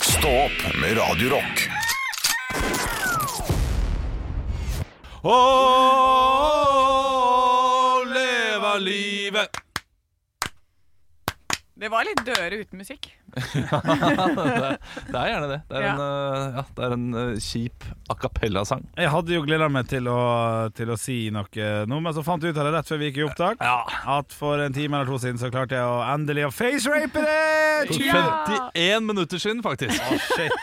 Stå opp med Radio Rock. Å, leve livet! Det var litt døre uten musikk. det, det er gjerne det. Det er Ja. en, eh, ja, det er en eh, kjip a cappella-sang. Jeg hadde jo gleda meg til å, til å si noe nå, men så fant jeg ut av det rett før vi gikk i opptak Ja. at for en time eller to siden så klarte jeg å endelig å facerape det! For Ja. 51 minutter siden, faktisk. Å, shit.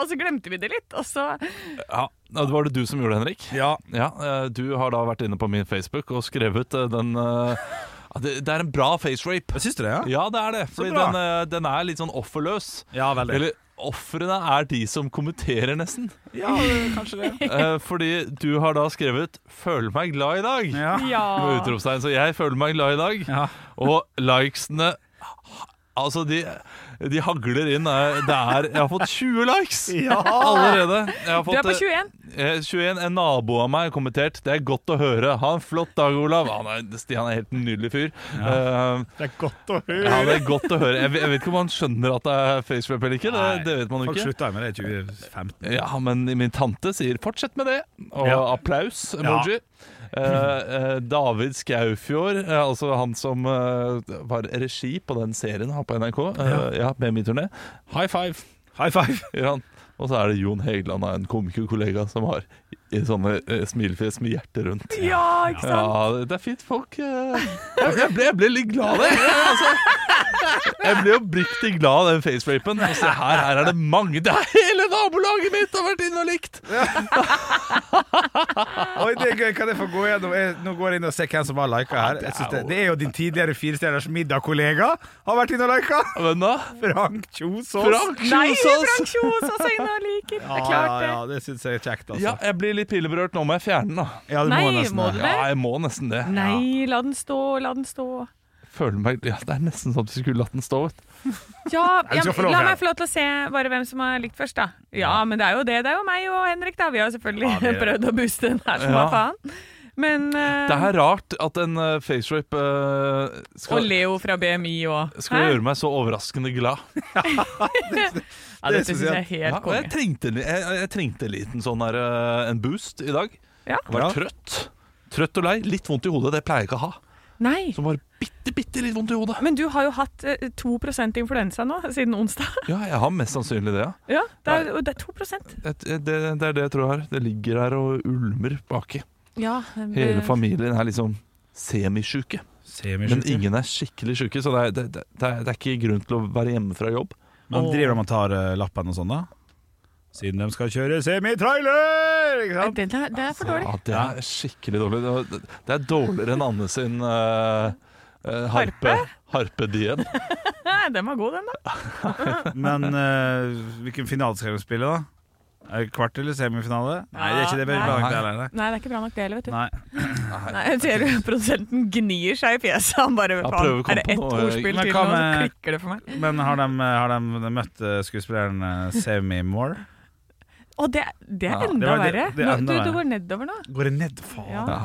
og så glemte vi det litt, og så Ja. Det var det du som gjorde det, Henrik. Ja. Ja, eh, Du har da vært inne på min Facebook og skrevet eh, den eh, ja, det, det er en bra facerape. Syns du det, ja? Ja, det er det. Fordi bra. den, eh, den er litt sånn offerløs. Ja, veldig. Eller ofrene er de som kommenterer, nesten. Ja, kanskje det. Eh, fordi du har da skrevet 'føler meg glad i dag'. Ja. Med Ja. utropstegn. Så jeg føler meg glad i dag. Ja. Og likesene Altså, de, de hagler inn. Eh, Det er, jeg har fått 20 likes allerede. Jeg har Du fått, er på 21. eh, 21. En nabo av meg har kommentert. Det er godt å høre. Ha en flott dag, Olav. Han er, Stian er helt en nydelig fyr. Eh, Det er godt å ja, det er godt å høre. Jeg, vet- jeg vet ikke om han skjønner at det er facerap eller ikke. Det, Nei, det vet man jo Folk ikke. slutta jo med det i 2015. Ja, men min tante sier 'fortsett med det', og Ja. applaus, emoji. Eh, eh, David Skaufjord, eh, altså han som eh, var regi på den serien her på NRK, eh, ja, BMI-turné. High five, High five! gjør han. Og så er det Jon Hegeland, en komikerkollega, som har i sånne eh, smilefjes med hjertet rundt. Ja, ikke sant? Ja, det er fint folk. eh. Jeg jeg ble, jeg ble litt glad av det. Altså. Jeg ble oppriktig glad av den facerapen. Og se her, her er det mange. Det er hele nabolaget mitt har vært inne og likt! Oi, det er gøy. Kan jeg få gå gjennom jeg, Nå går jeg inn og ser hvem som har lika her. Jeg synes det, det er jo din tidligere firestjerners middag-kollega har vært inne og lika. Hvem da? Frank Kjosås. Frank Nei, Frank Kjosås! Kjos og Seina liker. Det er Ja, klart, ja, det. det syns jeg er kjekt, altså. Ja, jeg blir litt pileberørt. Nå må jeg fjerne den, da. Ja, Nei, nesten må det. du det? Ja, jeg må nesten det. Nei, la den stå, la den stå. Føler meg, ja, det er nesten sånn at vi skulle latt den stå. Vet. du. Ja, du ja, skal få lov, la Geir. meg få lov til å se bare hvem som har likt først, da. Ja, men det er jo det. Det er jo meg og Henrik, da. Vi har selvfølgelig Ja, det- prøvd å booste den her som Ja. var faen. Men eh, Det er rart at en uh, facerape eh, Og skal, Leo fra BMI og skal gjøre meg så overraskende glad. Ja, det dette synes syns jeg er Ja, helt og jeg konge. trengte, en li- jeg, jeg trengte en liten sånn her, eh, en boost i dag. Ja. Jeg var Ja. trøtt. Trøtt og lei. Litt vondt i hodet. Det pleier jeg ikke å ha. Nei. Så bare bitte, bitte litt vondt i hodet. Men du har jo hatt eh, 2 influensa nå, siden onsdag. Ja, jeg har mest sannsynlig det, ja. Ja, det er, det er 2 Et- et- Det, det er det jeg tror jeg har. Det ligger her og ulmer baki. Ja, Hele familien er liksom semisjuke. Men Semisjuke. ingen er skikkelig sjuke, så det er, det, det, det er, det er ikke grunn til å være hjemme fra jobb. Men driver de og tar eh, lappen og sånn, da? Siden de skal kjøre semitrailer! Ikke sant? Det, er, det er for dårlig. Ja, det er skikkelig dårlig. Det- Det, det er dårligere enn Anne sin eh, eh, harpe, harpedien. Nei, den var god, den, da. Men eh, hvilken finale skal de spille, da? Er det Kvart eller semifinale? Nei, det er ikke det. vi Nei. har lagt der, nei, Nei, det er ikke bra nok, det heller, vet du. Nei. Nei, jeg ser jo produsenten gnir seg i fjeset. Han bare Ja, faen, prøver å komme Er det på ett noe, ordspill eh, men til, hva nå, så med- klikker det for meg. Men har de, har de møtt eh, skuespilleren eh, Semi Moore? Å, det, det Ja, er det enda var- det- verre. det er Nå- enda du, verre. du går nedover nå. Går det ned, faen? Ja. Ja.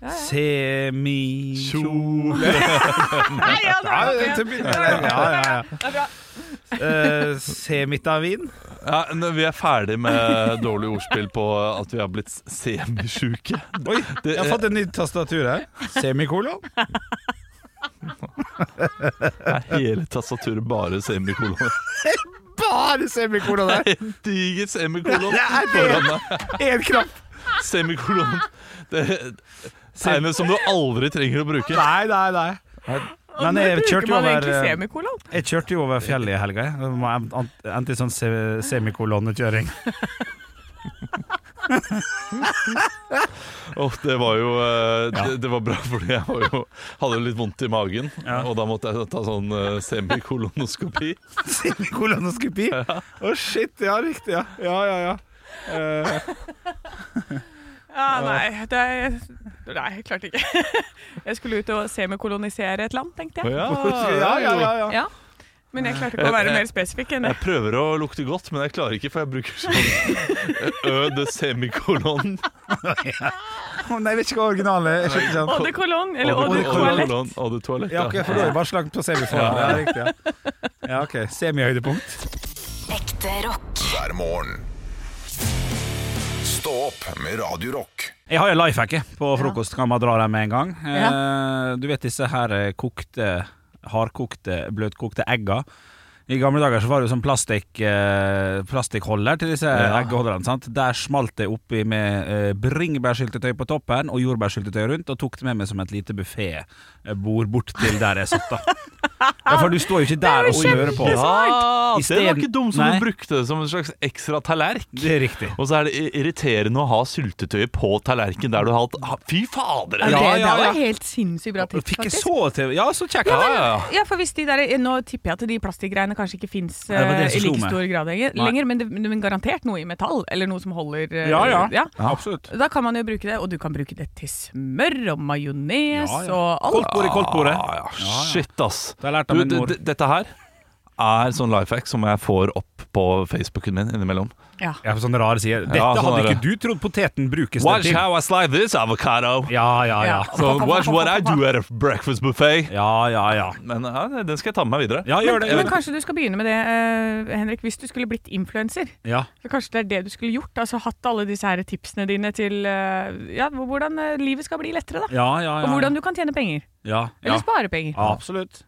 Ja, ja. Semi Kjole. Nei, ja, det Ja, var det det. er til- ja, ja, ja. Det er bra. Eh, Semitavin? Ja, når vi er ferdig med dårlig ordspill på at vi har blitt semisjuke. Oi, jeg har fått et nytt tastatur her. Semikolon? Er hele tastaturet bare semikolon? Bare semikolon der! En diger semikolon Det er det. foran deg. Én knapp! Semikolon. Det tegnet som du aldri trenger å bruke. Nei, nei, nei. Men Nå jeg bruker kjørte jo man over eh, egentlig semikolon. Jeg kjørte jo over fjellet i helga. jeg. Det var en- en- Endte i sånn se- semikolonnekjøring. Åh, det var jo eh, det, det var bra, fordi jeg var jo, hadde jo litt vondt i magen. Og da måtte jeg ta sånn eh, semikolonoskopi. Semikolonnoskopi? Å, shit. Ja, riktig. Ja, ja, ja. ja. Eh, Ja, nei, det er, nei, jeg klarte ikke. Jeg skulle ut og semikolonisere et land, tenkte jeg. Ja, ja, ja, ja, ja. Eh, Ja. Men jeg klarte ikke å være mer spesifikk enn det. Jeg prøver å lukte godt, men jeg klarer ikke, for jeg bruker sånn ø de semikolon. Å, Nei, jeg vet ikke hva originalen er. Jeg skjønte ikke sånn. Eau de cologne, eller Eau eau de de- eau de toalett. cologne, eau de toalett, Ja, ok, for da er det bare slangt på semifonen. Ja, riktig. Ja, ja ok. Semihøydepunkt. Ekte Ekte rock. hver morgen. Stå opp med Radio Rock. Jeg har jo life hacket på frokost, kan man dra dem med en gang. Eh, Du vet disse her eh, kokte, hardkokte, bløtkokte egga. I gamle dager så var det jo sånn plastikk, eh, plastikkholder til disse eggeholderne. sant? Der smalt det oppi med eh, bringebærsyltetøy på toppen og jordbærsyltetøy rundt, og tok det med meg som et lite buffé-bord bort til der jeg satt, da. ja, for du står jo ikke der og smører på. Ja, det I var stedet- ikke dumt som Nei. du brukte det som en slags ekstra tallerk. Det er riktig. Og så er det i- irriterende å ha syltetøyet på tallerken der du har hatt ha- Fy fader! Det, Ja, ja, det ja. var helt sinnssykt bra tips, Fikk jeg faktisk. så til Ja, så kjekt. Ja, ja, ja. Ja, for hvis de der, Nå tipper jeg at de plastikkgreiene kanskje ikke fins Nei, det var det i som slo like meg. stor grad lenger, Nei. lenger, men, det, men garantert noe i metall, eller noe som holder eh, Ja, ja. ja. Absolutt. Da kan man jo bruke det, og du kan bruke det til smør og majones Ja, ja. og alt. Koldtbordet, koldtbordet. Ah, ja, shit, ass. Det har jeg lært av Du, min d- mor. d- dette her er sånn life hack som jeg får opp på Facebooken min innimellom. Ja. Ja, for sånne rare sider. Dette Ja, sånn hadde er ikke du trodd poteten brukes det Watch til. how I slide this avocado. Ja, ja, ja. Ja. So watch what I do at a breakfast buffet. Ja, ja, ja. Men ja, den skal jeg ta med meg videre. Ja, gjør det. Men kanskje du skal begynne med det, eh, Henrik, hvis du skulle blitt influenser. Ja. For Kanskje det er det du skulle gjort? altså Hatt alle disse her tipsene dine til eh, ja, hvordan eh, livet skal bli lettere, da. Ja, ja, ja. Og hvordan du kan tjene penger. Ja, ja. Eller spare penger. Ja, absolutt.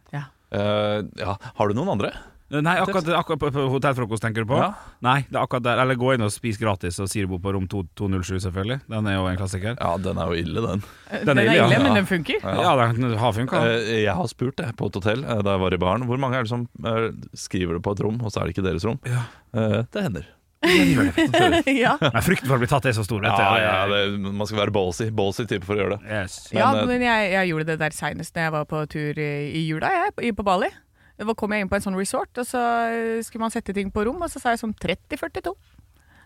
Eh, ja. Har du noen andre? Nei, akkurat, akkurat på- på hotellfrokost tenker du på? Ja. Nei, det er akkurat der. Eller gå inn og spis gratis og sirubo på rom 2- 207, selvfølgelig. Den er jo en klassiker. Ja, den er jo ille, den. Eh, Den er ille, ja. men den funker. Ja, den har funka. Eh, jeg har spurt det på et hotell eh, da jeg var i baren. Hvor mange er det som eh, skriver det på et rom, og så er det ikke deres rom? Ja. Eh, det hender. ja. Men frykten for å bli tatt er så stor. vet du. Ja, ja, det, man skal være ballsy. Ballsy type for å gjøre det. Yes. Men, ja, eh, men jeg, jeg gjorde det der seinest da jeg var på tur i, i jula, jeg, i- på Bali. Da kom jeg inn på en sånn resort, og så eh, skulle man sette ting på rom, og så sa jeg sånn 30-42.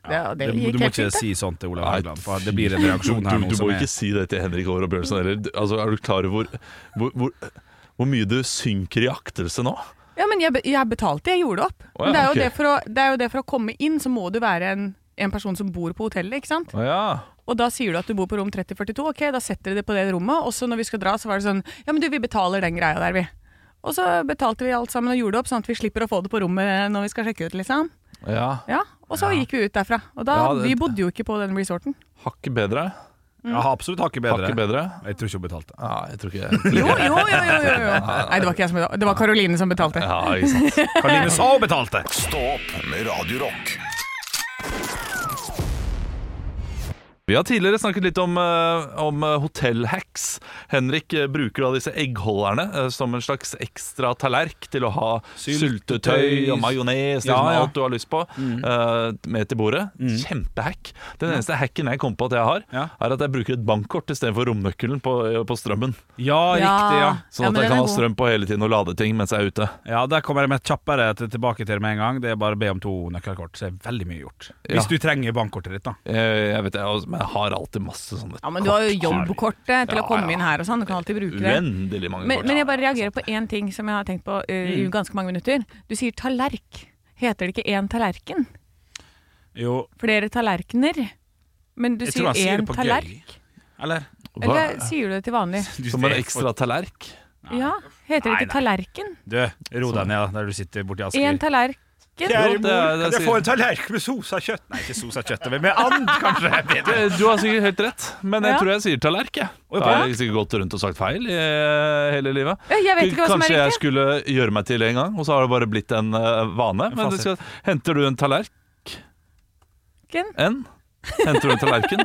Det, og det Du, gikk du må helt ikke fint. det. si sånt til Olav Nei, Haugland, for det blir en reaksjon Du, her nå du som må er ikke si det til Henrik Over og Bjørnsen heller. Du- Altså, er du klar over hvor, hvor, hvor, hvor mye du synker i aktelse nå? Ja, men jeg, be- jeg betalte, jeg gjorde det opp. Å ja, men det er, jo ok. det, for å, det er jo det for å komme inn, så må du være en, en person som bor på hotellet, ikke sant? Å ja. Og da sier du at du bor på rom 3042, ok, da setter de det på det rommet, og så når vi skal dra, så var det sånn, ja, men du, vi betaler den greia der, vi. Og så betalte vi alt sammen og gjorde det opp, sånn at vi slipper å få det på rommet når vi skal sjekke ut, liksom. ja. Ja, og så gikk vi ut derfra. Og da, Ja, det- vi bodde jo ikke på den resorten. Hakket bedre. Ja, absolutt hakket bedre. Hakket bedre. Jeg tror ikke hun betalte. Ja, jeg tror ikke jeg tror Jo, ikke- jo, jo, jo, jo, jo. Nei, det var ikke jeg som betalte, det var Karoline som betalte. Ja, ikke sant. Karoline sa hun betalte! Stå opp med Radio Rock. Vi har tidligere snakket litt om, eh, om eh, hotellhacks. Henrik eh, bruker da disse eggholderne eh, som en slags ekstra tallerk til å ha Syltetøy, syltetøy og majones, liksom Ja, Mm. ja. alt du har lyst på, eh, med til bordet. Kjempehack. Den eneste hacken jeg kom på at jeg har, Ja. er at jeg bruker et bankkort istedenfor romnøkkelen på, eh, på strømmen. Ja, riktig, ja. Sånn Ja, men at den jeg kan er ha god. strøm på hele tiden og lade ting mens jeg er ute. Ja, Der kommer jeg med et kjappere til- tilbake til det med en gang. Det er bare å be om to nøkkelkort. Så er veldig mye gjort. Ja. Hvis du trenger bankkortet ditt, da. Eh, Jeg vet det, altså, men jeg har alltid masse sånne Ja, men du har jo jobbkortet til Ja, å komme ja. inn her og sånn, du kan alltid bruke det. uendelig mange Men, kort. Mm. men jeg bare reagerer på én ting som jeg har tenkt på eh, i ganske mange minutter. Du sier tallerk. Heter det ikke én tallerken? Jo, Flere tallerkener. Men du Jeg tror sier han sier én det på tallerk. eller? Eller sier du det til vanlig? Du Som en ekstra tallerk? Ja, Heter det Nei, ikke tallerken? Du, ro deg ned da, der du sitter borti Én Asker. tallerken? Jo, det er- det er sikkert- tallerken med sosa kjøtt? Nei, ikke sosa kjøtt, men med and, kanskje. er bedre. Du har sikkert helt rett, men jeg Ja. tror jeg sier tallerk. Jeg. Oi, Da har jeg sikkert gått rundt og sagt feil i eh, hele livet. Ja, Jeg vet ikke hva som Kanskje er jeg riktig. skulle gjøre meg til en gang, og så har det bare blitt en eh, vane. Men det skal, henter du en tallerken? Henter du en tallerken?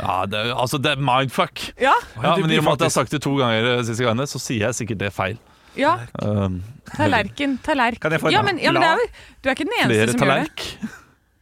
Ja, det, er- altså, det er mindfuck. Ja, Ja, du men i blir og med at jeg har faktisk- sagt det to ganger eh, siste gangene, så sier jeg sikkert det feil. ja, Um, tallerken, Kan jeg få tallerken. en Ja, men, ja, men det er, vel- du er ikke den eneste flere som gjør det. tallerk.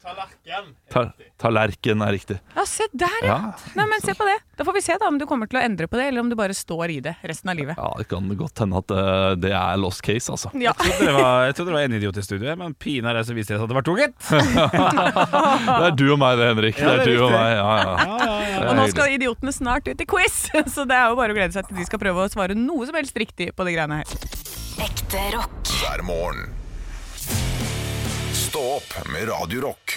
Tallerken. Tallerken er riktig. Ja, se der, ja. Ja. Nei, men se på det. Da får vi se da om du kommer til å endre på det, eller om du bare står i det resten av livet. Ja, det kan godt hende at eh, det er lost case, altså. Ja. Jeg trodde det var- jeg trodde det var én idiot i studio, men pinadø så viste det seg at det var to, gitt. Det er du og meg det, Henrik. Ja, det er det er du og riktig. meg. Ja, ja. Ja, ja, ja. Det Og er nå hyggelig. skal idiotene snart ut i quiz, så det er jo bare å glede seg til de skal prøve å svare noe som helst riktig på de greiene her. Ekte rock. hver morgen. Stå opp med Radio Rock.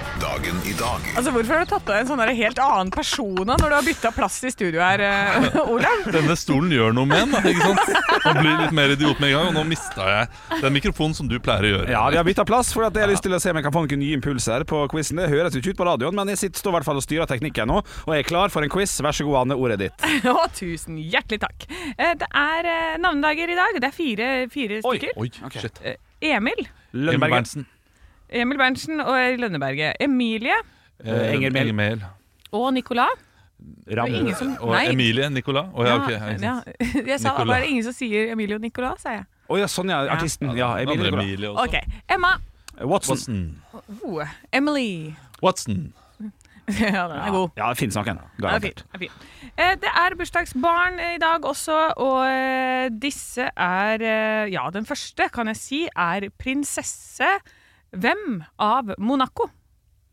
Dagen i dag. Altså, Hvorfor har du tatt på deg en sånn der helt annen persona når du har bytta plass i studio her, eh, Olav? Denne stolen gjør noe med en, da, ikke sant? Man blir litt mer idiot med en gang, og nå mista jeg den mikrofonen som du pleier å gjøre. Ja, vi har bytta plass, for at jeg har lyst til å se om jeg kan få noen nye impulser på quizen. Det høres jo ikke ut på radioen, men jeg sitter, står i hvert fall og styrer teknikken nå, og jeg er klar for en quiz. Vær så god, Anne, ordet er ditt. Å, tusen hjertelig takk. Eh, Det er eh, navnedager i dag. Det er fire, fire stykker. Oi, shit. Eh, Emil. Emil Lønneberg. Berntsen. Emil Berntsen og Lønneberget. Emilie Eh, Enger Mehl. Mehl. og Nicolas. Ram. Ingen som Og Nei. Emilie Nicolas. Å ja, ok. jeg- ja, jeg sa Nicolas. bare ingen som sier Emilie og Nicolas, sa jeg. Å ja, sånn ja. Artisten. Ja, Andre Emilie. Nicolas. Emilie også. Ok. Emma. Watson. Watson. Oh, Emily. Watson. ja, den er god. Ja, det finnes noen. Ja, det er Garantert. fint, det er fint. Eh, Det er bursdagsbarn eh, i dag også, og eh, disse er eh, Ja, den første, kan jeg si, er prinsesse Hvem av Monaco?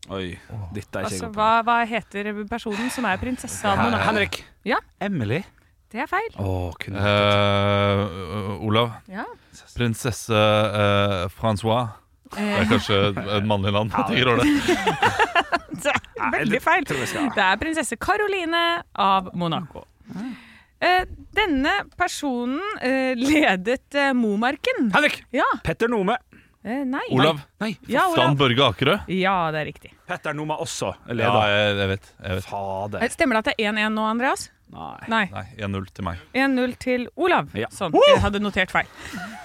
Oi, dette er ikke Altså, jeg god på. hva, hva heter personen som er prinsesse av Hen- Monaco? Henrik. Ja. Emily. Det er feil. Å, kunne Eh, Olav. Ja. Prinsesse eh, Francois. Det er kanskje et mannlig navn. Jeg tenker over det. Det er veldig feil. tror jeg skal. Det er prinsesse Caroline av Monaco. Eh, Denne personen eh, ledet eh, Momarken. Henrik! Ja. Petter Nome. eh, Nei. Olav. Nei, Ja, Dan Olav. Børge Akerø. Ja, det er riktig. Petter Nome også Ja, leder. jeg, jeg vet. Jeg vet. Fader. Eh, Stemmer det at det er 1-1 nå, Andreas? Nei. Nei. Nei, 1-0 til meg. 1-0 til Olav. Ja. Sånn, jeg hadde notert feil.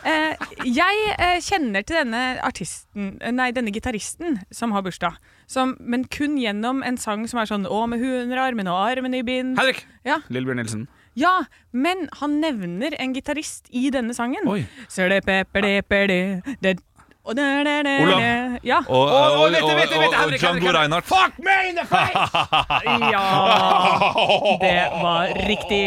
Eh, jeg eh, kjenner til denne artisten, eh, nei, denne gitaristen som har bursdag, som, men kun gjennom en sang som er sånn Å, med huen under armen og armen i bind. Henrik! Ja. Lillebjørn Nilsen. ja, men han nevner en gitarist i denne sangen. Oi. Så det pepper, det pepper, det, det og det, det, det, Olav. det. Ja. Og, og, Å, å, og, vent, og, vent, og, vent, Henrik, Henrik, Django Henrik. Reinhardt. Fuck me in the face! ja! Det var riktig.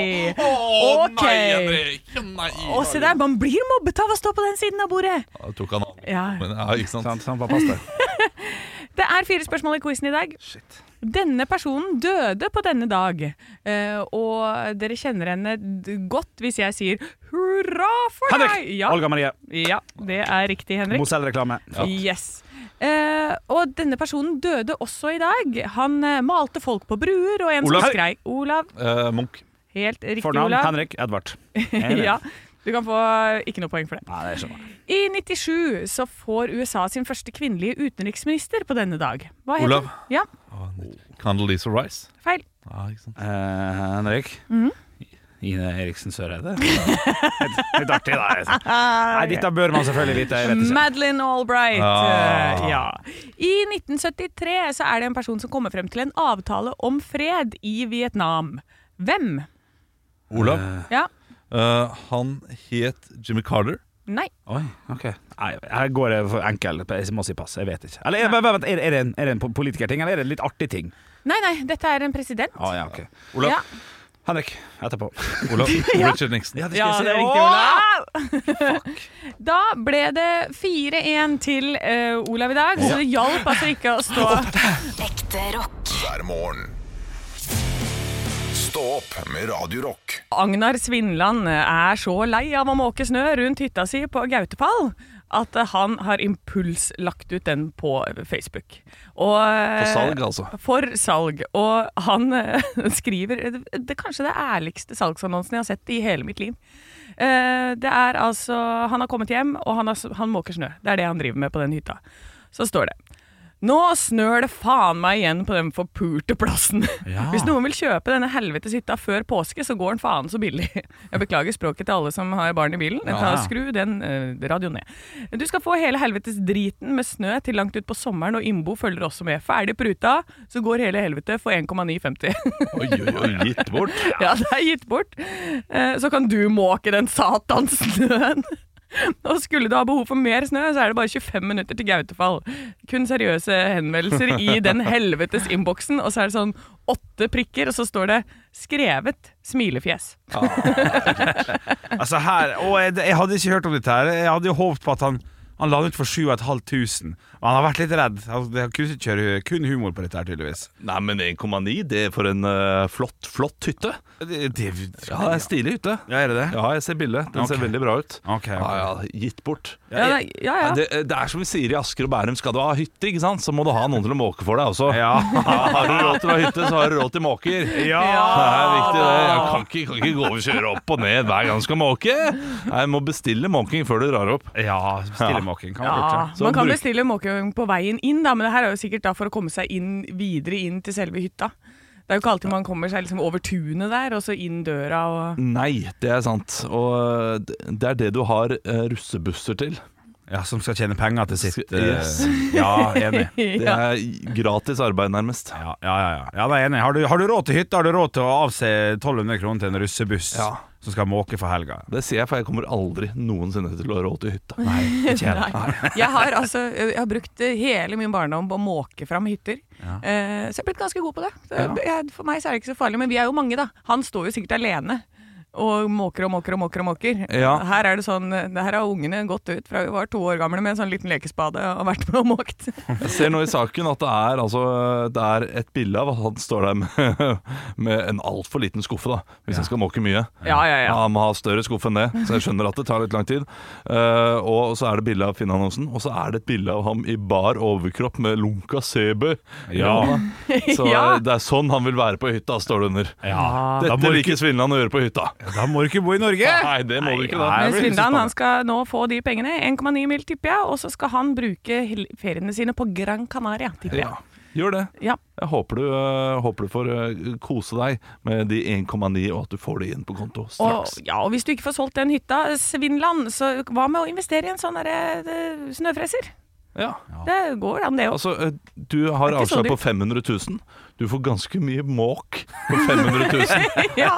Ok. Nei. Å, se der, man blir mobbet av å stå på den siden av bordet. Ja, tok han av. Ja. Men, ja, ikke sant? Sant, sant, bare pass deg. Det er fire spørsmål i quizen i dag. Shit. Denne personen døde på denne dag, eh, og dere kjenner henne d- godt hvis jeg sier hurra for Henrik! deg! Ja, Olga Marie. ja, det er riktig, Henrik. Mozell-reklame. Yes. Eh, og denne personen døde også i dag. Han eh, malte folk på bruer, og en Olav. som skrei Olav. Eh, Munch. Helt riktig, Fornavn Olav. Henrik Edvard. ja, du kan få eh, ikke noe poeng for det. Nei, det skjønner jeg. I 97 så får USA sin første kvinnelige utenriksminister på denne dag. Hva heter Olav. hun? Ja, Condoleezza Rice. feil. Ja, ikke sant? Eh, Henrik. Mhm. Ine Eriksen Søreide. Litt artig, da. Nei, dette bør man selvfølgelig vite. Jeg vet ikke. Madeleine Albright. Ah. eh, Ja. I 1973 så er det en person som kommer frem til en avtale om fred i Vietnam. Hvem? Olav. Ja, Eh, han het Jimmy Carter. nei. Oi, ok Nei, Her går jeg for enkel. Jeg må si pass. Jeg vet ikke. Eller, vent, vent, er, er, det en, er det en politikerting, eller er det en litt artig ting? Nei, nei, dette er en president. Ah, ja, ok Olav. Ja. Henrik, etterpå. Olav. Richard Nixon. Ja, det Ja, det er riktig, Olav. Da ble det 4-1 til eh, Olav i dag, så det hjalp altså ikke å stå Ekte rock. hver morgen. Stå opp med Radio Rock. Agnar Svinland er så lei av å måke snø rundt hytta si på Gautefall at eh, han har impuls lagt ut den på Facebook. Og, På salg, altså. For salg. Og han eh, skriver det, det kanskje det ærligste salgsannonsen jeg har sett i hele mitt liv. Eh, det er altså Han har kommet hjem, og han, har, s- han måker snø. Det er det han driver med på den hytta. Så står det Nå snør det faen meg igjen på den forpurte plassen. Ja. Hvis noen vil kjøpe denne helvetes hytta før påske, så går den faen så billig. Jeg beklager språket til alle som har barn i bilen. Jeg Ja. tar, skru den eh, radioen ned. Du skal få hele helvetes driten med snø til langt ut på sommeren, og Imbo følger også med. Ferdig pruta, så går hele helvete for 1,950. Oi, oi, oi, gitt bort. ja, det er gitt bort. Eh, Så kan du måke den satans snøen. Og skulle du ha behov for mer snø, så er det bare 25 minutter til Gautefall. Kun seriøse henvendelser i den helvetes innboksen, og så er det sånn åtte prikker, og så står det 'skrevet smilefjes'. Altså her, og jeg, jeg hadde ikke hørt om dette her Jeg hadde jo håpet på at han Han la den ut for 7500. Og han har vært litt redd. Han det er kun, kjører kun humor på dette her, tydeligvis. Nei, men 1,9, det er for en eh, flott, flott hytte. Det, det, Ja, det er stilig hytte. ja, er det det? Ja, jeg ser bildet. Den ser Ok. veldig bra ut. Ok, ok. Ja, ja, gitt bort. Ja, nei, ja, ja. Det, eh, det er som vi sier i Asker og Bærum, skal du ha hytte, ikke sant? så må du ha noen til å måke for deg også. Ja. Har du råd til å ha hytte, så har du råd til måker. Det er viktig, det. Jeg kan ikke, kan ikke gå og kjøre opp og ned hver gang du skal måke. Nei, Jeg må bestille måking før du drar opp. Ja, stillemåking kan man Ja, lurt Så man kan bruk- bestille måkeøving på veien inn, da, men det her er jo sikkert da for å komme seg inn videre inn til selve hytta. Det er jo ikke alltid man kommer seg liksom over tunet der, og så inn døra og Nei, det er sant. Og eh, det- det er det du har eh, russebusser til. Ja, som skal tjene penger til sitt Skal- yes. eh, Ja, enig. Det Ja. er gratis arbeid, nærmest. Ja, ja, ja. ja. ja det er enig. Har du, har du råd til hytte, har du råd til å avse 1200 kroner til en russebuss Ja. som skal måke for helga. Det sier jeg, for jeg kommer aldri noensinne til å ha råd til hytte. Nei, ikke jeg. Nei. Jeg har altså jeg har brukt hele min barndom på å måke fram hytter. Ja. Eh, Så jeg er blitt ganske god på det. Det- jeg- For meg så er det ikke så farlig, men vi er jo mange, da. Han står jo sikkert alene. Og måker og måker og måker. og måker Ja. Her er det sånn, det her har ungene gått ut fra vi var to år gamle med en sånn liten lekespade og vært med og måkt. Jeg ser nå i saken at det er, altså, det er et bilde av at han står der med, med en altfor liten skuffe, da, hvis jeg skal måke mye. Ja, ja, ja. Han må ha større skuffe enn det, så jeg skjønner at det tar litt lang tid. Eh, og så er det bilde av Finn Hansen, og så er det et bilde av ham i bar overkropp med lunka CB. i Ja. hånda. Så Ja. det er sånn han vil være på hytta, står det under. Ja, da må Dette du liker Svinland å gjøre på hytta. Da må du ikke bo i Norge! Nei, det må du ikke, da. Nei, Men det blir Svindal han spennende. skal nå få de pengene, 1,9 mil tipper jeg, og så skal han bruke hel- feriene sine på Gran Canaria, tipper jeg. Ja. Gjør det. Ja. Jeg håper du, eh, håper du får eh, kose deg med de 1,9, og at du får det inn på konto Og, straks. ja, og hvis du ikke får solgt den hytta, Svindland, så hva med å investere i en sånn derre, eh, snøfreser? Ja. Det går an, det òg. Altså, eh, du har Det er ikke så avslag på dyrt. 500 000. Du får ganske mye måk for 500 000. Ja.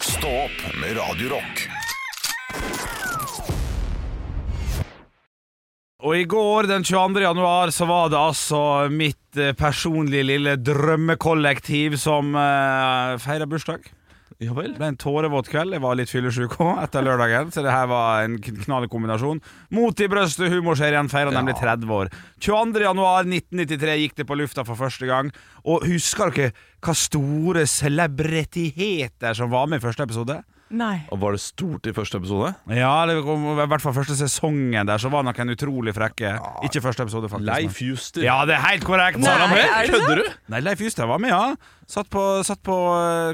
Stå opp med Radio Rock. Og i går, den 22. januar, så var det altså mitt eh, personlige lille drømmekollektiv som uh, feira bursdag. Ja Det vel. ble en tårevåt kveld. Jeg var litt fyllesyk òg etter lørdagen, så det her var en kn- knall kombinasjon. Mot i brøstet, humorserien feira nemlig 30 år. 22. januar 1993 gikk det på lufta for første gang. Og husker dere hva store celebritheter som var med i første episode? Nei. Og Var det stort i første episode? Ja, det kom, i hvert fall første sesongen der så var noen utrolig frekke. Ikke første episode, faktisk. men- Juster. Ja, det er helt korrekt! Nei, Sara. er det Kødder du? Nei, Leif Justad var med, ja. Satt på, satt på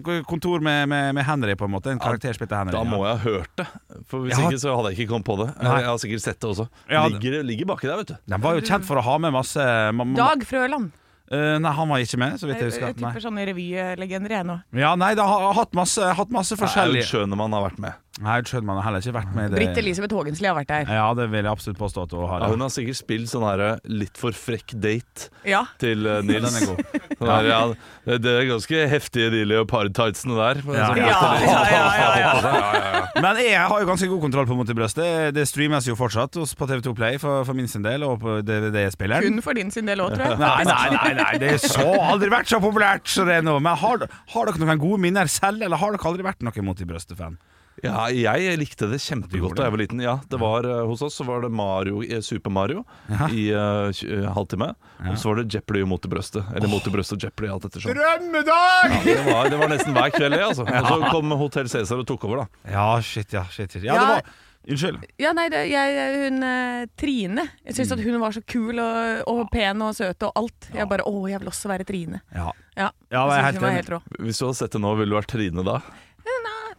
eh, kontor med, med, med Henry, på en måte. En karakter spilte Henry. Da ja. må jeg ha hørt det. For Hvis Ja. ikke så hadde jeg ikke kommet på det. Nei. Jeg har sikkert sett det også. Ja, det- Ligger, ligger baki der, vet du. De var jo kjent for å ha med masse ma- ma- Dag Frøland. Eh, Nei, han var ikke med, så vidt Jeg, jeg husker. jeg Nei, tipper sånne revylegender, jeg nå. ja, nei det har har hatt masse, hatt masse Aud forskjellige Schønemann har vært med. Nei, Schønmann har heller ikke vært med i det. Britt Elisabeth Haagensli har vært der. Ja, det vil jeg absolutt påstå at hun har. Ja, hun har sikkert spilt sånn her litt for frekk date Ja. til eh, Nils. Den er god. Sånn her, ja, det- det er ganske heftige de leopardtightsene der. Ja. Som- Ja, ja, ja, ja. Men jeg har jo ganske god kontroll på Mot i brøstet. Det, det streames jo fortsatt hos- på TV2 Play for, for min sin del, og på DVD-spilleren. Kun for din sin del òg, tror jeg. Nei, nei, nei, nei, det er så aldri vært så populært som det er nå. Men har, har dere noen gode minner selv, eller har dere aldri vært noen mot i brøstet-fan? Ja, jeg likte det Du gjorde kjempegodt da jeg var liten. Ja, det var eh, Hos oss så var det Mario, eh, Super Mario i eh, tj- eh, halvtime. Og så var det Jeopardy og Mot i brøstet. Eller Mot i brøstet og Jeopardy, alt etter sånn. Drømmedag! Det var, det var nesten hver kveld, det. altså. Og så kom Hotell Cæsar og tok over, da. Ja, shit, ja, shit, shit. Ja, Ja. det var Unnskyld. Ja, nei, det, jeg, hun eh, Trine Jeg syns at hun var så kul og, og pen og søt og alt. Jeg bare Å, jeg vil også være Trine. Ja. Ja, jeg Ja, jeg er synes helt hun var enig. helt rå. Hvis du hadde sett det nå, ville du vært Trine da?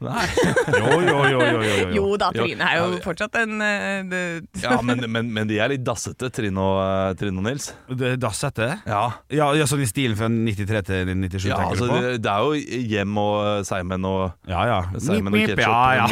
Nei. Jo, jo, jo, jo, jo, jo. Jo da, Jo, Trine er ja, jo ja. fortsatt en eh, det- Ja, men, men, men de er litt dassete, Trine og, eh, Trine og Nils. Det- Dassete? Ja, Ja, ja, sånn i stilen fra 93 til 97, ja tenker altså, du på? det, det er jo Hjem og eh, Seimen og Ja, ja. Simon og Ketchup. Ja, ja.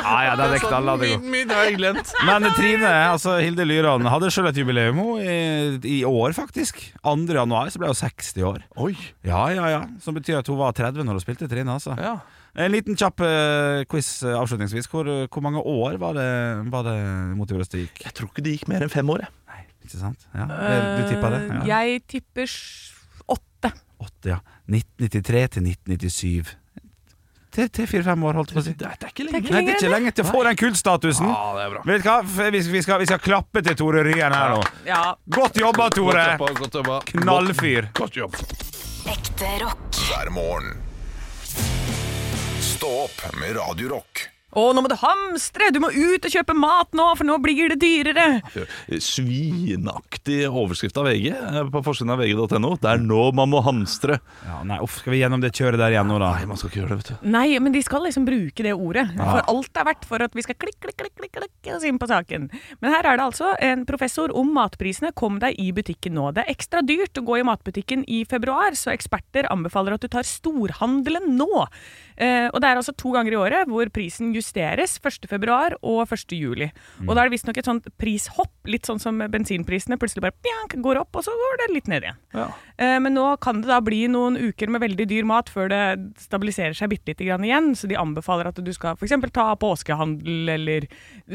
ja, ja, det dekket alle. det er sånn godt. Min har jeg glemt. Men Trine, altså Hilde Lyran, hadde sjøl et jubileum hun, i, i år, faktisk. 2. januar så ble hun 60 år. Oi. Ja, ja, ja. Som betyr at hun var 30 når hun spilte Trine. Altså. Ja. En liten kjapp eh, quiz eh, avslutningsvis. Hvor, hvor mange år var det, var det Mot i brøstet gikk? Jeg tror ikke det gikk mer enn fem år, jeg. Ikke sant? Ja. Det, du tippa det? Eh, Ja. Jeg tipper s- åtte. 8, ja. 1993 til 1997. Tre-fire-fem år, holdt jeg på å si. Det er, det er ikke Det er lenge. ikke Nei, det er ikke lenge til jeg får den kultstatusen. Ja, det er bra. Vet du hva, F- vi skal, vi skal, vi skal klappe til Tore Ryen her nå. Ja. Godt jobba, Tore! Godt jobba, godt jobba. Knallfyr. Godt, godt jobb. Ekte rock. hver morgen. Stå opp med Radio Rock. Å, nå må du hamstre! Du må ut og kjøpe mat nå, for nå blir det dyrere! Eh, Svinaktig overskrift av VG eh, på forsiden av vg.no. Det er nå man må hamstre. Ja, nei, uff, skal vi gjennom det kjøret der igjen nå, da? Nei, man skal ikke gjøre det, vet du. Nei, men de skal liksom bruke det ordet. For alt er verdt for at vi skal klikk, klikk, klikk, klikk, klikk oss inn på saken. Men her er det altså en professor om matprisene. Kom deg i butikken nå. Det er ekstra dyrt å gå i matbutikken i februar, så eksperter anbefaler at du tar storhandelen nå. Eh, og det er altså to ganger i året hvor prisen justeres. 1. februar og 1. juli. Og da er det visstnok et sånt prishopp, litt sånn som bensinprisene plutselig bare pjank, går opp, og så går det litt ned igjen. Eh, Men nå kan det da bli noen uker med veldig dyr mat før det stabiliserer seg bitte lite grann igjen. Så de anbefaler at du skal f.eks. ta påskehandel eller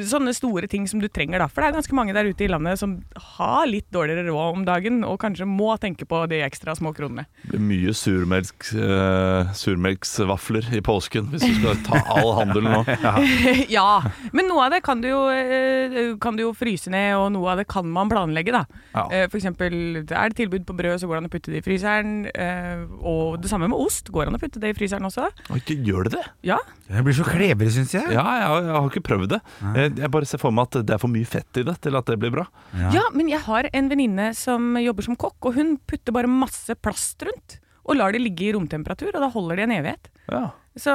sånne store ting som du trenger. da. For det er ganske mange der ute i landet som har litt dårligere råd om dagen, og kanskje må tenke på de ekstra små kronene. Det blir mye surmelk, eh, surmelksvafler i påsken hvis du skal ta all handel nå. ja, men noe av det kan du, jo, eh, kan du jo fryse ned, og noe av det kan man planlegge, da. Ja. Eh, For eksempel, er det tilbud på brød, så går det an å putte det i fryseren. eh, Og det samme med ost, går det an å putte det i fryseren også? Og ikke gjør det det? Ja. Jeg blir så klebrig, syns jeg. Ja, jeg, har- jeg har ikke prøvd det. Jeg, jeg bare ser for meg at det er for mye fett i det til at det blir bra. Ja, men jeg har en venninne som jobber som kokk, og hun putter bare masse plast rundt. Og lar det ligge i romtemperatur, og da holder det en evighet. Ja. Så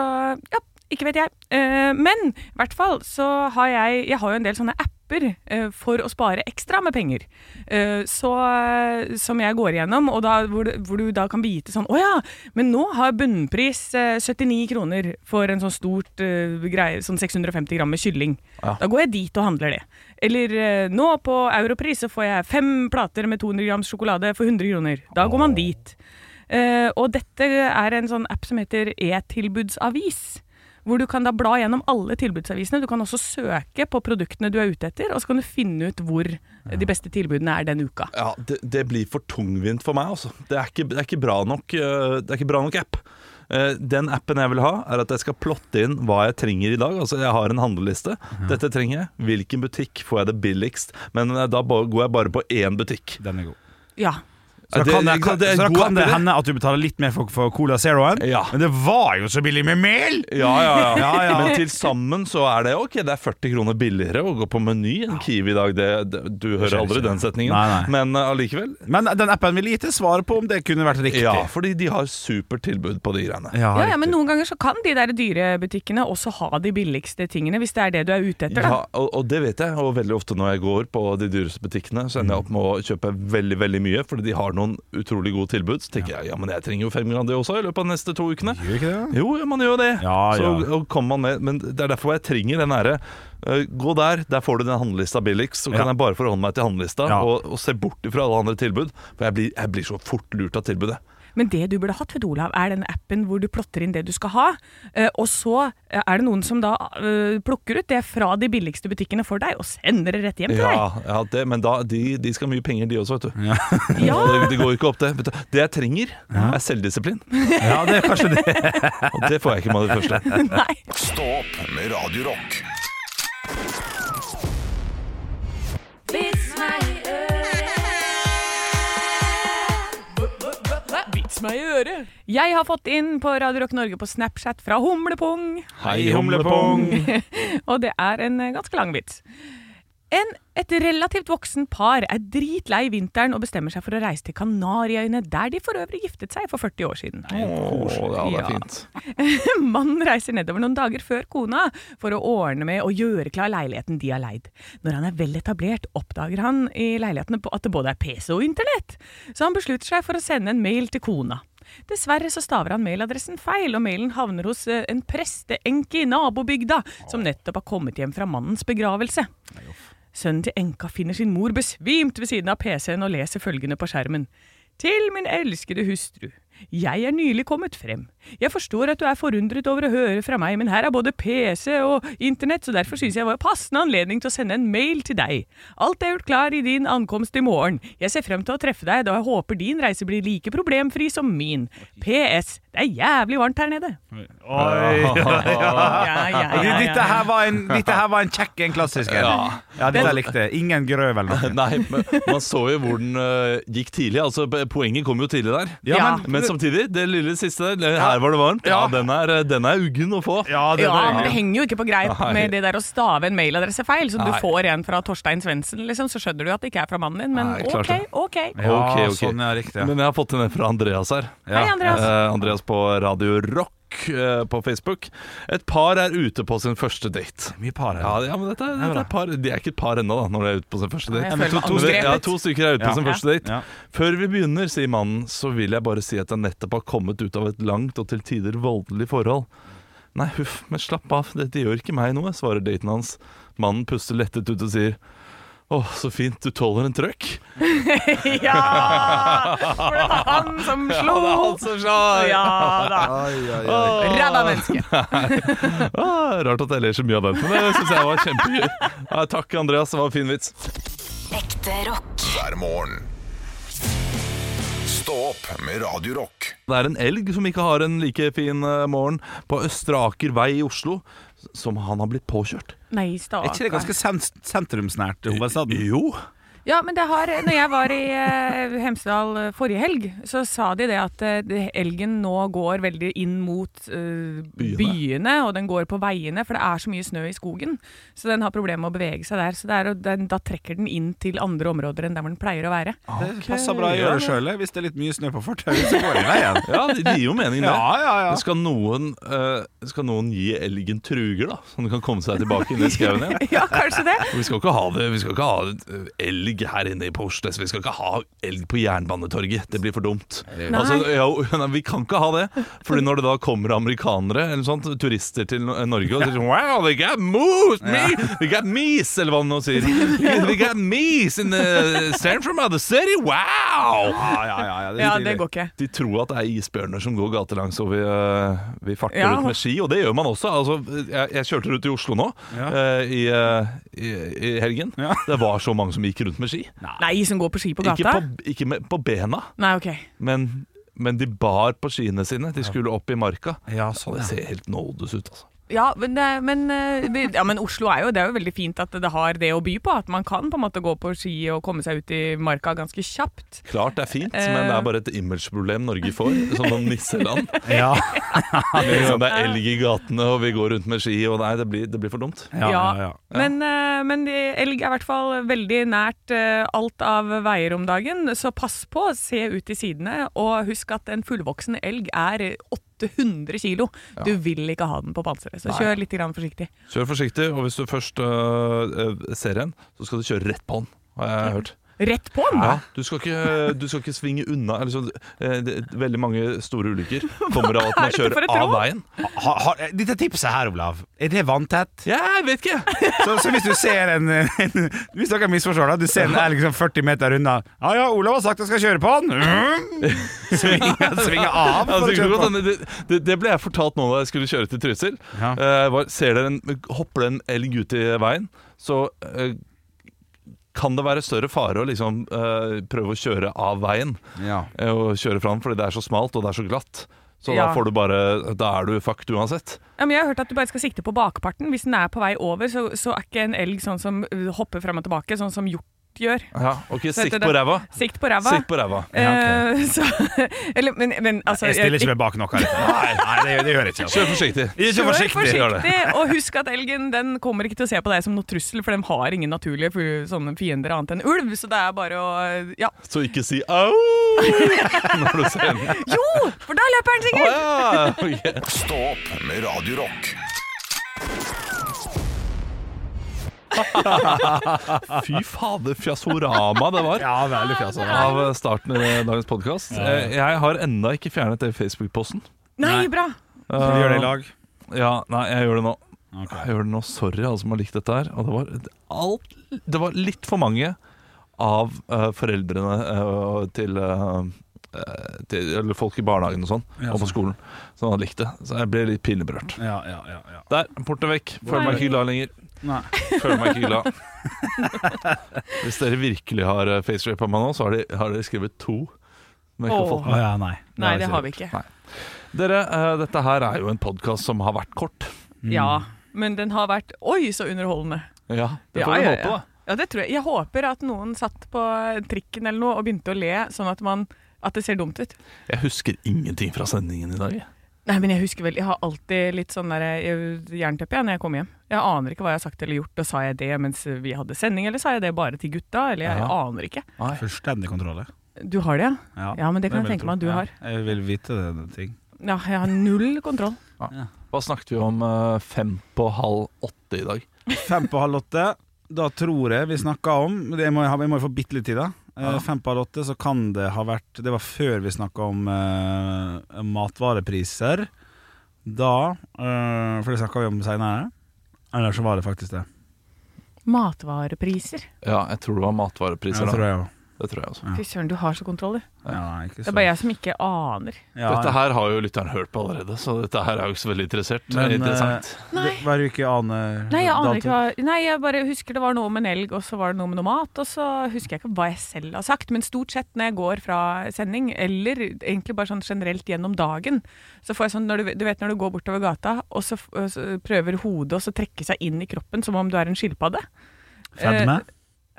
ja, ikke vet jeg. Eh, men i hvert fall så har jeg Jeg har jo en del sånne apper eh, for å spare ekstra med penger. Eh, så eh, Som jeg går igjennom, og da, hvor, du, hvor du da kan vite sånn Å ja, men nå har bunnpris eh, 79 kroner for en sånn stort eh, greie, sånn 650 gram med kylling. Ja. Da går jeg dit og handler det. Eller eh, nå på europris så får jeg fem plater med 200 grams sjokolade for 100 kroner. Da går man dit. Eh, og dette er en sånn app som heter e-tilbudsavis. Hvor du kan da bla gjennom alle tilbudsavisene. Du kan også søke på produktene du er ute etter, og så kan du finne ut hvor de beste tilbudene er den uka. Ja, det, det blir for tungvint for meg, altså. Det er ikke, det er ikke, bra, nok, eh, det er ikke bra nok app. Eh, Den appen jeg vil ha, er at jeg skal plotte inn hva jeg trenger i dag. Altså, jeg har en handleliste. Mhm. Dette trenger jeg. Hvilken butikk får jeg det billigst? Men eh, da ba- går jeg bare på én butikk. Den er god. Ja. Så da Det- kan det, det- det er så da en god kan det app, det. hende at du betaler litt mer for, for Cola Zeroen, Ja. men det var jo så billig med mel! Ja, ja, ja. Ja, ja. Men til sammen så er det ok, det er 40 kroner billigere å gå på Meny enn Kiwi i dag. Det, det, du hører aldri den setningen. Nei, nei. Men eh, allikevel. Men den appen vil gi til svar på om det kunne vært riktig. ja, fordi de har supertilbud på de greiene. Ja, Ja, ja, riktig. men noen ganger så kan de der dyrebutikkene også ha de billigste tingene, hvis det er det du er ute etter, da. Ja, og, og det vet jeg, og veldig ofte når jeg går på de dyreste butikkene, så ender jeg opp med å kjøpe veldig veldig mye, fordi de har noen utrolig gode tilbud. Så tenker jeg ja, men jeg trenger jo fem grandi også i løpet av de neste to ukene. Gjør ikke det? Jo, ja, man gjør det. Ja, så ja. og kommer man med, Men det er derfor jeg trenger den derre eh, Gå der, der får du den handlelista billigst. Så Ja. kan jeg bare forholde meg til handlelista Ja. og, og se bort fra alle andre tilbud. For jeg blir, jeg blir så fort lurt av tilbudet. Men det du burde hatt, vet du, Olav, er den appen hvor du plotter inn det du skal ha. eh, Og så eh, er det noen som da eh, plukker ut det fra de billigste butikkene for deg, og sender det rett hjem til Ja, ja det, men da, de, de skal ha mye penger, de også, vet du. deg. Ja, Det, det går jo ikke opp, det. Vet du, Det jeg trenger, er selvdisiplin. Ja, det er kanskje det. Og det får jeg ikke med det første. nei. Stå opp med Radio Rock. Vits meg i øret. Jeg har fått inn på Radio Rock Norge på Snapchat fra Humlepung, Hei, og det er en eh, ganske lang vits. En, et relativt voksen par er dritlei vinteren og bestemmer seg for å reise til Kanariøyene, der de for øvrig giftet seg for 40 år siden. Åh, ja, det Ja. er fint. Mannen reiser nedover noen dager før kona for å ordne med å gjøre klar leiligheten de har leid. Når han er vel etablert, oppdager han i leilighetene på at det både er PC og internett, så han beslutter seg for å sende en mail til kona. Dessverre så staver han mailadressen feil, og mailen havner hos eh, en presteenke i nabobygda som nettopp har kommet hjem fra mannens begravelse. Sønnen til enka finner sin mor besvimt ved siden av PC-en og leser følgende på skjermen. Til min elskede hustru. Jeg er nylig kommet frem. Jeg forstår at du er forundret over å høre fra meg, men her er både PC og internett, så derfor synes jeg det var passende anledning til å sende en mail til deg. Alt er gjort klar i din ankomst i morgen. Jeg ser frem til å treffe deg, da jeg håper din reise blir like problemfri som min. PS. Det er jævlig varmt her nede. Ja, ja, ja, ja, Dette her var en, dette her var en kjekk en klassisk en. Ja, dette likte jeg. Ingen grøv eller noe. Nei, men man så jo hvor den eh, gikk tidlig. Altså, p- Poenget kom jo tidlig der. Ja. Men samtidig, det lille siste der. eh, Her var det varmt. Ja, den er, eh, den er uggen å få. Ja, det, Ja, var- men det henger jo ikke på greip med det der å stave en mailadresse feil, som du Nei. får en fra Torstein Svendsen, liksom, så skjønner du at det ikke er fra mannen din, men Nei, klart ok, det. ok. Ok, ja, ok. sånn, ja, riktig. Ja. Men jeg har fått en fra Andreas her. Hei, Andreas. Eh, Andreas på Radio Rock eh, på Facebook. Et par er ute på sin første date. Mye par her. Ja, ja men dette, dette er par. De er ikke et par ennå, da, når de er ute på sin første Nei, date. jeg men føler meg to- to- Men det- ja, angrepet. to stykker er ute på Ja. sin første date. Ja. Før vi begynner, sier mannen, så vil jeg bare si at jeg nettopp har kommet ut av et langt og til tider voldelig forhold. Nei, huff, men slapp av, dette gjør ikke meg noe, svarer daten hans. Mannen puster lettet ut og sier Åh, så fint, du tåler en trøkk. Ja! For det var han som slo! som slår! Ja da. Ræva menneske. Ah, rart at jeg ler så mye av den, men det syns jeg var kjempegøy. Ja, takk, Andreas, det var en fin vits. Ekte rock. hver morgen. Stå opp med Radio Rock. Det er en elg som ikke har en like fin eh, morgen på Østre Aker vei i Oslo, s- som han har blitt påkjørt. Nei, Er ikke det stakkar. ganske sen- sentrumsnært til hovedstaden? Jo. Ja, men det har Når jeg var i eh, Hemsedal eh, forrige helg, så sa de det at eh, det- elgen nå går veldig inn mot eh, Byene. byene. og den går på veiene, for det er så mye snø i skogen. Så den har problemer med å bevege seg der. Så det er, å- den, da trekker den inn til andre områder enn der hvor den pleier å være. Det passer bra å gjøre sjøl. Hvis det er litt mye snø på fortauet, så går det i veien. Ja, det det gir jo mening, det. Ja, ja, ja. Men Skal, noen, eh, skal noen gi elgen truger, da? Så den kan komme seg tilbake inn i skauen igjen? Ja, kanskje det. Vi skal ikke ha det Vi skal ikke ha eh, elg her inne i Porsnes. Vi skal ikke ha elg på Jernbanetorget. Det blir for dumt. Nei. Altså, ja, nei, vi kan ikke ha det. Fordi når det da kommer amerikanere eller sånt, turister til no- Norge og sier sånn, Wow, they got moose! Me, they got meese! Eller hva de nå sier. They got meese in the central of the city! Wow! Ja, ja, ja, ja, det, Ja, det går ikke. De tror at det er isbjørner som går gatelangs, og vi, øh, vi farter Ja. ut med ski. Og det gjør man også. Altså, jeg, jeg kjørte rundt i Oslo nå Ja. øh, i, øh, i, i helgen. Ja. Det var så mange som gikk rundt med ski. Nei, som går på ski på Ikke, på, gata? ikke med, på bena, Nei, ok. men, men de bar på skiene sine. De skulle opp i marka. Ja, Så sånn, det ja. ser helt nådes ut, altså. Ja, men, det, men, eh, vi- ja, men Oslo er jo, det er jo veldig fint at det har det å by på. At man kan på en måte gå på ski og komme seg ut i marka ganske kjapt. Klart det er fint, Eh. men det er bare et imageproblem Norge får, som noen nisseland. Ja. Liksom, Det er elg i gatene, og vi går rundt med ski, og nei, det blir, det blir for dumt. Ja, ja, ja. Men, eh, men de- elg er i hvert fall veldig nært eh, alt av veier om dagen, så pass på, se ut i sidene, og husk at en fullvoksen elg er 800 kilo. Du vil ikke ha den på panseret, så kjør litt grann forsiktig. Kjør forsiktig, og hvis du først øh, øh, ser en, så skal du kjøre rett på den, har jeg hørt. Rett på den! Ja, du, skal ikke, du skal ikke svinge unna. Eller sånn, eh, det, veldig mange store ulykker kommer av at er man dette for kjører et av råd? veien. Ha, ha, dette tipset her, Olav, er det vanntett? Ja, jeg vet ikke! Så, så hvis du ser en, en Hvis dere misforstår, da. Du ser en elg som 40 meter unna. Ja ja, Olav har sagt jeg skal kjøre på han. Mm. Svinge, svinge Ja, av. For å det, kjøre på. det, det, det ble jeg fortalt nå da jeg skulle kjøre til Trysil. Ja. Eh, var, ser dere en, hopper det en elg ut i veien, så eh, kan det være større fare å liksom eh, prøve å kjøre av veien. Ja. eh, Og kjøre fram, fordi det er så smalt og det er så glatt. Så da Ja. får du bare Da er du fucked uansett. Ja, men jeg har hørt at du bare skal sikte på bakparten. Hvis den er på vei over, så, så er ikke en elg sånn som uh, hopper fram og tilbake, sånn som hjort gjør. Ja, OK, Så sikt heter på det- ræva. Sikt på ræva. Sikt på ræva. Ja, Eh, så, eller, men, men altså Jeg stiller ikke meg bak noe. her. Nei, nei det, det gjør jeg ikke. altså. Kjør forsiktig. Ikke Vær forsiktig. forsiktig, gjør det. og husk at elgen den kommer ikke til å se på deg som noe trussel, for den har ingen naturlige fu- sånne fiender annet enn ulv, så det er bare å Ja. Så ikke si au når du ser den. Jo, for da løper den sikkert! Ah, ok. Stå opp med Radio Rock Fy fader, fjasorama det var. Ja, veldig fjas. altså. Av starten i dagens podkast. Jeg har enda ikke fjernet det i Facebook-posten. Nei, Nei. bra. Vi gjør det i lag. Ja, nei, jeg gjør det nå. Jeg gjør det nå, Sorry, alle som har likt dette her. Og det var, alt, det var litt for mange av eh, foreldrene eh, til eh, eh, til, eller folk i barnehagen og sånn, Ja, og på sånn. skolen, som hadde likt det. Så jeg ble litt pinneberørt. Ja, ja, ja, ja. Der, porten er vekk. Føler meg ikke glad lenger. Nei. Føler meg ikke glad. Hvis dere virkelig har eh, facerapa meg nå, så har de- har dere skrevet to. Men jeg har ikke Åh. fått Å ja, nei. Nei, det har vi ikke. Dere, eh, dette her er jo en podkast som har vært kort. Ja, men den har vært oi så underholdende. Ja, det Ja, får vi ja, håpe, ja. da. Ja, det tror jeg. Jeg håper at noen satt på trikken eller noe og begynte å le, sånn at, man, at det ser dumt ut. Jeg husker ingenting fra sendingen i dag. jeg. Nei, men jeg husker vel, jeg har alltid litt sånn der jeg- jernteppe jeg, når jeg kommer hjem. Jeg aner ikke hva jeg har sagt eller gjort, og sa jeg det mens vi hadde sending, eller sa jeg det bare til gutta, eller jeg Ja. aner ikke. Fullstendig kontroll. ja. Du har det, ja? Ja, men det kan jeg vil tenke meg at du tro. har. Ja, jeg vil vite det, det ting. Ja, jeg har null kontroll. Hva snakket vi om eh, fem på halv åtte i dag? Fem på halv åtte. Da tror jeg vi snakka om det må jeg, ha- jeg må jo få bitte litt tid, da. Eh, Fem på halv åtte, så kan det ha vært Det var før vi snakka om eh, matvarepriser. Da eh, For det snakka vi om seinere. Eller så var det faktisk det. Matvarepriser. Ja, jeg tror det var matvarepriser. Ja, da. tror jeg også. Det tror jeg også. Fy søren, du har så kontroll, du. Ja, nei, ikke Det så. er bare jeg som ikke aner. Ja, Dette her har jo lytteren hørt på allerede, så dette her er jo ikke så veldig interessert. Men, eh, interessant. det- Hver uke aner Nei, jeg aner ikke hva Nei, jeg bare husker det var noe om en elg, og så var det noe med noe mat, og så husker jeg ikke hva jeg selv har sagt, men stort sett når jeg går fra sending, eller egentlig bare sånn generelt gjennom dagen, så får jeg sånn når du, du vet når du går bortover gata, og så, f- og så prøver hodet også å trekke seg inn i kroppen som om du er en skilpadde.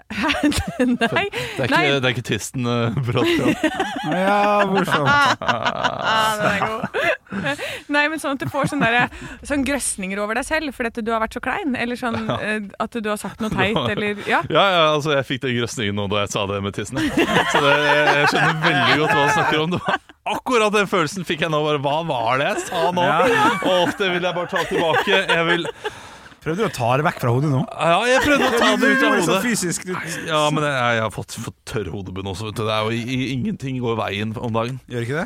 Eh, Fedme? Nei. Det er ikke, Nei. det er ikke tisten eh, brått fra. Ja, morsomt. Ah, den er god. Nei, men sånn at du får sånne, der, sånn grøsninger over deg selv fordi at du har vært så klein, eller sånn eh, at du har sagt noe teit, eller Ja. Ja, ja, altså, jeg fikk den grøsningen nå da jeg sa det med tissen. jeg. Så det, jeg, jeg skjønner veldig godt hva du snakker om. Det var akkurat den følelsen fikk jeg nå. Bare, hva var det jeg sa nå? Og det vil jeg bare ta tilbake. Jeg vil Prøvde du å ta det vekk fra hodet nå? Ja, jeg prøvde å ta det ut av hodet. fysisk du liksom Ja, men jeg, jeg har fått, fått tørr hodebunn også, vet du. Det er jo i, i, ingenting går veien om dagen. Gjør ikke det?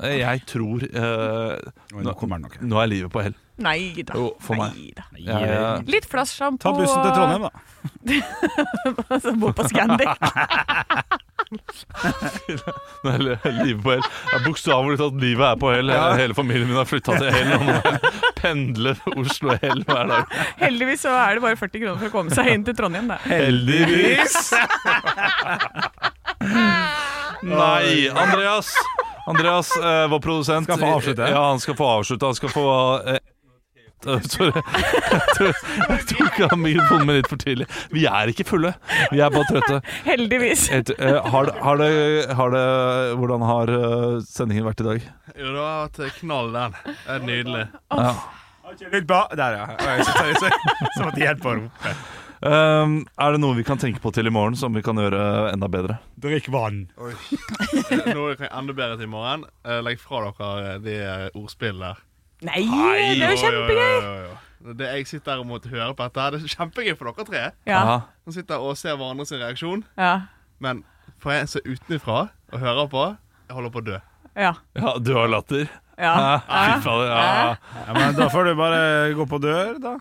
Nei, jeg tror eh, Oi, nå kommer det noe. Nå er livet på hell. Nei da. Jo, for meg. Nei da. Jeg, eh, Litt flasjsjampo. Ta bussen til Trondheim, da. og så bo på Scandic. Nei, li- livet på hell. Det er Bokstavelig talt, livet er på hell. Jeg- Hele familien min har flytta til hell. Og nå pendler Oslo hell hver dag. Heldigvis så er det bare 40 kroner for å komme seg inn til Trondheim, da. Heldigvis! Nei, Andreas. Andreas, eh, vår produsent Skal få avslutte. Ja, han skal få avslutte. Han skal få eh, eh, Sorry. Jeg tok- Jeg tok av mikrofonen min litt for tidlig. Vi er ikke fulle, vi er bare trøtte. Heldigvis. Et, eh, har, det- har, det, har det Hvordan har eh, sendingen vært i dag? Jo, det har vært knall, den. Det er nydelig. Ja. Litt ba Der, ja. Oi, Så, så, så, så måtte jeg hjelpe ham. Um, er det noe vi kan tenke på til i morgen som vi kan gjøre enda bedre? Drikk vann. Noe dere kan enda bedre til i morgen. Eh, Legg fra dere de eh, ordspillene der. Nei, det er jo kjempegøy! Jo, jo, jo, jo. Det Jeg sitter her og måtte høre på dette. her Det er kjempegøy for dere tre. Ja, Aha. Som sitter og ser hverandre sin reaksjon. ja, Men for en som er utenfra og hører på, jeg holder på å dø. ja. ja du har latter? ja. Ja. Fy fader. Ja. Ja, men da får du bare gå på dør, da.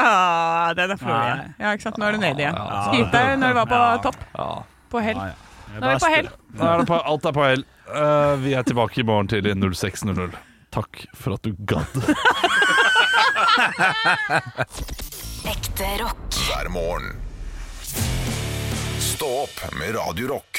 Ah, den er flott igjen. Ja, ikke sant. Nå er du nede igjen. Skryt deg når du var på topp. Ja. På hell. Ja, ja. Nå er vi på hell. Nå er det på, alt er på hell. Eh, vi er tilbake i morgen tidlig 06.00. Takk for at du gadd. Ekte rock. hver morgen. Stå opp med Radio Rock.